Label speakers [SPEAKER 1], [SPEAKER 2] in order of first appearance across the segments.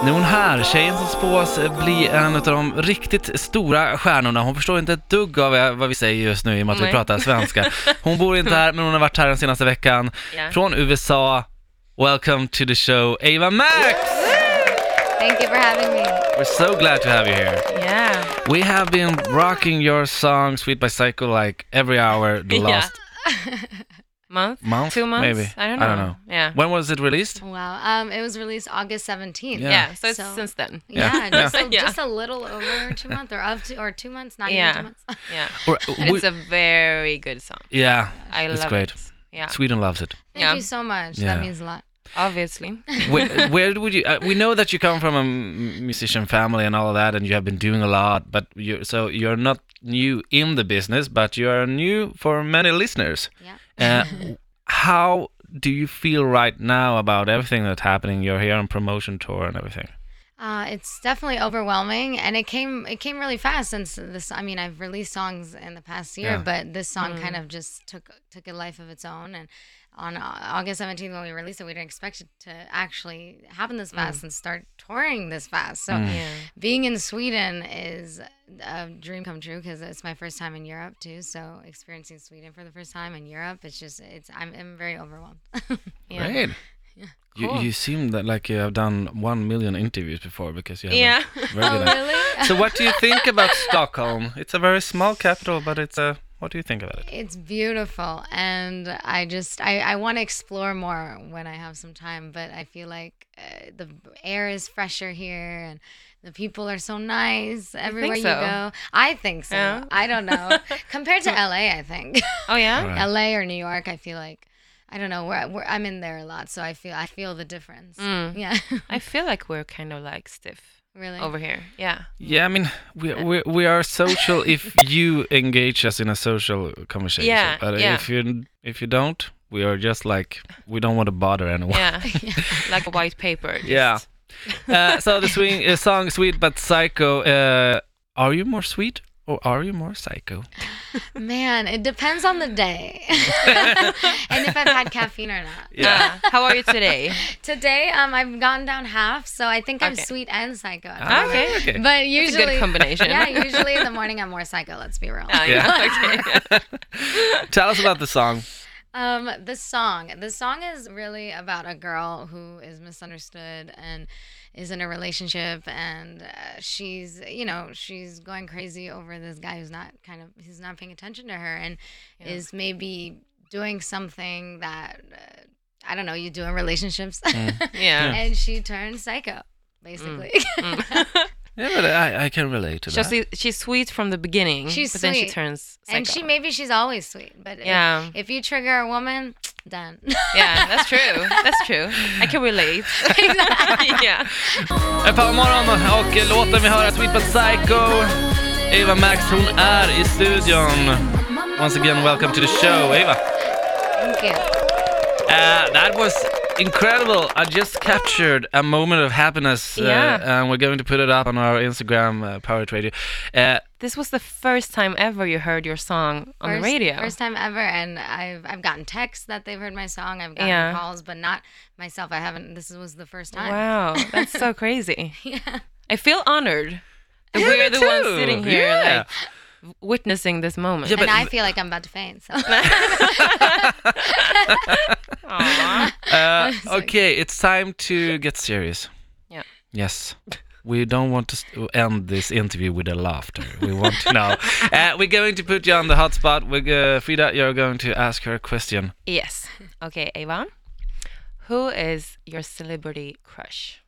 [SPEAKER 1] Nu är hon här, tjejen som spås bli en av de riktigt stora stjärnorna. Hon förstår inte ett dugg av eh, vad vi säger just nu i och med att vi
[SPEAKER 2] Nej.
[SPEAKER 1] pratar svenska. Hon bor inte här, men hon har varit här den senaste veckan.
[SPEAKER 2] Ja.
[SPEAKER 1] Från USA, welcome to the show, Ava Max!
[SPEAKER 3] Thank you for having me.
[SPEAKER 1] We're so glad to have you here.
[SPEAKER 2] Yeah.
[SPEAKER 1] We have been rocking your song Sweet by Psycho like every hour the
[SPEAKER 2] Yeah.
[SPEAKER 1] last
[SPEAKER 2] Month?
[SPEAKER 1] month,
[SPEAKER 2] Two months?
[SPEAKER 1] maybe.
[SPEAKER 2] I don't know. Yeah.
[SPEAKER 1] When was it released?
[SPEAKER 3] Wow. Um, it was released August 17th.
[SPEAKER 1] Yeah.
[SPEAKER 2] yeah. so it's
[SPEAKER 3] So-
[SPEAKER 2] since then.
[SPEAKER 1] Yeah.
[SPEAKER 3] Yeah, just, A,
[SPEAKER 2] Yeah.
[SPEAKER 3] just a little over two months or up to, or two months, not even
[SPEAKER 2] Yeah.
[SPEAKER 3] two months.
[SPEAKER 2] Yeah.
[SPEAKER 1] Or-
[SPEAKER 2] And
[SPEAKER 1] we-
[SPEAKER 2] it's a very good song.
[SPEAKER 1] yeah,
[SPEAKER 2] I
[SPEAKER 1] It's
[SPEAKER 2] love
[SPEAKER 1] great.
[SPEAKER 2] it. Yeah.
[SPEAKER 1] Sweden loves it.
[SPEAKER 3] Thank
[SPEAKER 2] Yeah.
[SPEAKER 3] you so much.
[SPEAKER 1] Yeah.
[SPEAKER 3] That means a lot.
[SPEAKER 2] Obviously.
[SPEAKER 1] where, where would you? Uh, we know that you come from a m- musician family and all of that, and you have been doing a lot. But you, so you're not new in the business, but you are new for many listeners.
[SPEAKER 3] Yeah.
[SPEAKER 1] Uh, how do you feel right now about everything that's happening? You're here on promotion tour and everything.
[SPEAKER 3] Uh, it's definitely overwhelming, and it came it came really fast since this. I mean, I've released songs in the past year,
[SPEAKER 1] Yeah.
[SPEAKER 3] but this song
[SPEAKER 2] Mm.
[SPEAKER 3] kind of just took took a life of its own. And on Au- August seventeenth, when we released it, we didn't expect it to actually happen this fast
[SPEAKER 1] Mm.
[SPEAKER 3] and start touring this fast. So
[SPEAKER 2] Yeah.
[SPEAKER 3] being in Sweden is a dream come true because it's my first time in Europe too. So experiencing Sweden for the first time in Europe, it's just it's I'm, I'm very overwhelmed.
[SPEAKER 2] Yeah.
[SPEAKER 1] Great. You,
[SPEAKER 2] Cool.
[SPEAKER 1] you seem that like you have done one million interviews before because you have a
[SPEAKER 2] Yeah. Oh,
[SPEAKER 1] very good eye.
[SPEAKER 3] really?
[SPEAKER 1] So what do you think about Stockholm? It's a very small capital, but it's a. What do you think about it?
[SPEAKER 3] It's beautiful, and I just I, I want to explore more when I have some time. But I feel like uh, the air is fresher here, and the people are so nice everywhere you
[SPEAKER 2] so?
[SPEAKER 3] go. I think so.
[SPEAKER 2] Yeah.
[SPEAKER 3] I don't know compared to LA, I think
[SPEAKER 2] Oh yeah.
[SPEAKER 1] Right.
[SPEAKER 3] LA or New York. I feel like I don't know where, where I'm in there a lot, so I feel I feel the difference.
[SPEAKER 2] Mm.
[SPEAKER 3] Yeah,
[SPEAKER 2] I feel like we're kind of like stiff
[SPEAKER 3] really.
[SPEAKER 2] over here. Yeah.
[SPEAKER 1] Yeah, I mean, we
[SPEAKER 2] Uh,
[SPEAKER 1] we, we are social if you engage us in a social conversation.
[SPEAKER 2] Yeah,
[SPEAKER 1] but
[SPEAKER 2] yeah.
[SPEAKER 1] if you if you don't, we are just like we don't want to bother anyone.
[SPEAKER 2] Yeah. like a white paper. just-
[SPEAKER 1] Yeah. uh, so the swing, uh, song "Sweet but Psycho." Uh, are you more sweet or are you more psycho?
[SPEAKER 3] Man, it depends on the day, and if I've had caffeine or not.
[SPEAKER 2] Yeah. "Ah, How are you today?
[SPEAKER 3] Today, um, I've gone down half, so I think I'm
[SPEAKER 2] Okay.
[SPEAKER 3] sweet and psycho. at the
[SPEAKER 1] Ah,
[SPEAKER 3] moment.
[SPEAKER 2] Okay.
[SPEAKER 1] okay.
[SPEAKER 3] But
[SPEAKER 2] It's a
[SPEAKER 3] usually,
[SPEAKER 2] good combination.
[SPEAKER 3] yeah, usually in the morning I'm more psycho. Let's be real.
[SPEAKER 2] Yeah. yeah. Okay.
[SPEAKER 1] Tell us about the song.
[SPEAKER 3] Um, the song, the song is really about a girl who is misunderstood and is in a relationship, and uh, she's, you know, she's going crazy over this guy who's not kind of, he's not paying attention to her, and is maybe doing something that uh, I don't know, you do in relationships,
[SPEAKER 2] Yeah. Mm.
[SPEAKER 3] and she turns psycho, basically.
[SPEAKER 1] Yeah, but I, I can relate to
[SPEAKER 2] So
[SPEAKER 1] that.
[SPEAKER 2] she, she's sweet from the beginning,
[SPEAKER 3] She's
[SPEAKER 2] but then she
[SPEAKER 3] sweet.
[SPEAKER 2] turns psycho.
[SPEAKER 3] And she maybe she's always sweet, but if-
[SPEAKER 2] Yeah.
[SPEAKER 3] if, you trigger a woman, done.
[SPEAKER 2] yeah, that's true. That's true. I can relate. yeah.
[SPEAKER 1] En par morgon och låten vi hör är Sweet But Psycho. Eva Max, hon är i studion. Once again, welcome to the show, Eva.
[SPEAKER 3] Thank you.
[SPEAKER 1] Uh, that was incredible. I just captured a moment of happiness. uh,
[SPEAKER 2] Yeah.
[SPEAKER 1] and we're going to put it up on our Instagram, uh, Pirate Radio. Uh,
[SPEAKER 2] This was the first time ever you heard your song on the
[SPEAKER 3] First-
[SPEAKER 2] radio.
[SPEAKER 3] First time ever, and I've I've gotten texts that they've heard my song. I've gotten
[SPEAKER 2] Yeah.
[SPEAKER 3] calls, but not myself. I haven't. This was the first time.
[SPEAKER 2] Wow, that's so crazy. yeah. I feel honored. that
[SPEAKER 1] yeah,
[SPEAKER 2] We're
[SPEAKER 1] me
[SPEAKER 2] the ones
[SPEAKER 1] too.
[SPEAKER 2] sitting here
[SPEAKER 1] Yeah.
[SPEAKER 2] like, witnessing this moment.
[SPEAKER 1] Yeah,
[SPEAKER 3] And
[SPEAKER 1] but-
[SPEAKER 3] I feel like I'm about to faint. So.
[SPEAKER 2] Aw.
[SPEAKER 1] Uh, okay, it's time to get serious.
[SPEAKER 2] Yeah.
[SPEAKER 1] Yes. We don't want to st- end this interview with a laughter. We want to know. Uh, we're going to put you on the hot spot. We're, uh, Frida, you're going to ask her a question.
[SPEAKER 2] Yes. Okay, Ava. Who is your celebrity crush?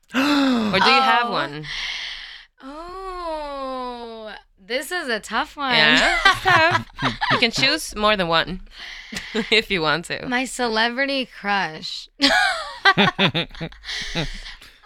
[SPEAKER 2] or do you have
[SPEAKER 3] Oh.
[SPEAKER 2] one?
[SPEAKER 3] oh, this is a tough one.
[SPEAKER 2] Yeah. so you can choose more than one if you want to.
[SPEAKER 3] My celebrity crush.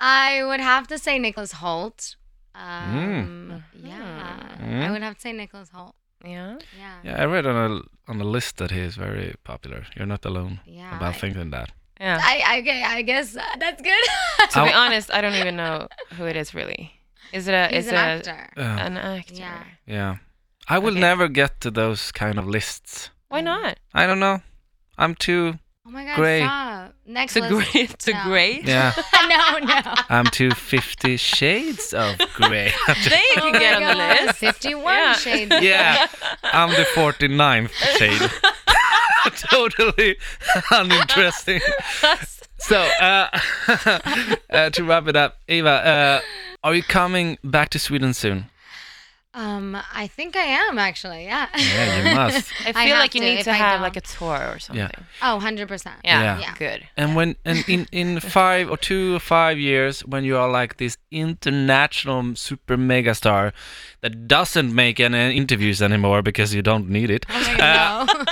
[SPEAKER 3] I would have to say Nicholas Holt.
[SPEAKER 2] Mm.
[SPEAKER 3] Um, Yeah, I would have to say Nicholas Holt.
[SPEAKER 2] Yeah.
[SPEAKER 3] Yeah.
[SPEAKER 1] Yeah, I read on a on a list that he is very popular. You're not alone
[SPEAKER 3] Yeah,
[SPEAKER 1] about
[SPEAKER 3] I-
[SPEAKER 1] thinking that.
[SPEAKER 2] Yeah.
[SPEAKER 3] I, I, okay, I guess uh, that's good.
[SPEAKER 2] To be
[SPEAKER 1] Ow.
[SPEAKER 2] honest, I don't even know who it is really. Is it a
[SPEAKER 3] He's
[SPEAKER 2] is
[SPEAKER 3] an
[SPEAKER 2] it
[SPEAKER 3] actor.
[SPEAKER 2] A,
[SPEAKER 1] Uh,
[SPEAKER 2] an actor?
[SPEAKER 3] Yeah.
[SPEAKER 1] yeah, I will
[SPEAKER 2] Okay.
[SPEAKER 3] Mm.
[SPEAKER 1] never get to those kind of lists.
[SPEAKER 2] Why not?
[SPEAKER 1] I don't know. I'm too
[SPEAKER 3] Oh my God,
[SPEAKER 1] Gray.
[SPEAKER 3] stop. Necklace.
[SPEAKER 2] To gray. To
[SPEAKER 3] No.
[SPEAKER 2] gray.
[SPEAKER 1] Yeah,
[SPEAKER 3] no, no.
[SPEAKER 1] I'm to Fifty Shades of Grey.
[SPEAKER 2] They can
[SPEAKER 3] Oh
[SPEAKER 2] get
[SPEAKER 3] my
[SPEAKER 2] on the
[SPEAKER 3] God,
[SPEAKER 2] list.
[SPEAKER 3] 51
[SPEAKER 2] Yeah.
[SPEAKER 3] shades.
[SPEAKER 1] yeah, I'm the 49th shade. totally uninteresting. So, uh, uh, to wrap it up, Eva, uh, are you coming back to Sweden soon?
[SPEAKER 3] Um, I think I am actually. Yeah.
[SPEAKER 1] Yeah, you must.
[SPEAKER 2] I
[SPEAKER 3] I
[SPEAKER 2] feel
[SPEAKER 3] have
[SPEAKER 2] like you
[SPEAKER 3] to,
[SPEAKER 2] need
[SPEAKER 3] if
[SPEAKER 2] to
[SPEAKER 3] I
[SPEAKER 2] have
[SPEAKER 3] don't.
[SPEAKER 2] like a tour or something.
[SPEAKER 3] Oh, 100%.
[SPEAKER 1] Yeah.
[SPEAKER 3] Yeah.
[SPEAKER 2] Good.
[SPEAKER 1] And when and in in five or two or five years, when you are like this international super mega star that doesn't make any interviews anymore because you don't need it,
[SPEAKER 3] Oh my God, no.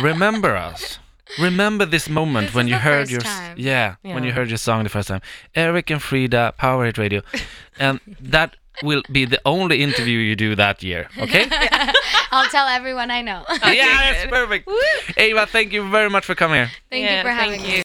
[SPEAKER 1] remember us. Remember this moment
[SPEAKER 3] This
[SPEAKER 1] when
[SPEAKER 3] is
[SPEAKER 1] you
[SPEAKER 3] the
[SPEAKER 1] heard
[SPEAKER 3] first
[SPEAKER 1] your s-
[SPEAKER 3] time.
[SPEAKER 1] yeah, when you
[SPEAKER 2] Yeah.
[SPEAKER 1] heard your song the first time. Eric and Frida, Power Hit Radio, and that will be the only interview you do that year. Okay.
[SPEAKER 3] I'll tell everyone I know.
[SPEAKER 1] yeah, that's perfect. Ava, thank you very much for coming here.
[SPEAKER 3] Thank
[SPEAKER 2] Yeah,
[SPEAKER 3] you for having
[SPEAKER 2] thank
[SPEAKER 3] me.
[SPEAKER 2] you.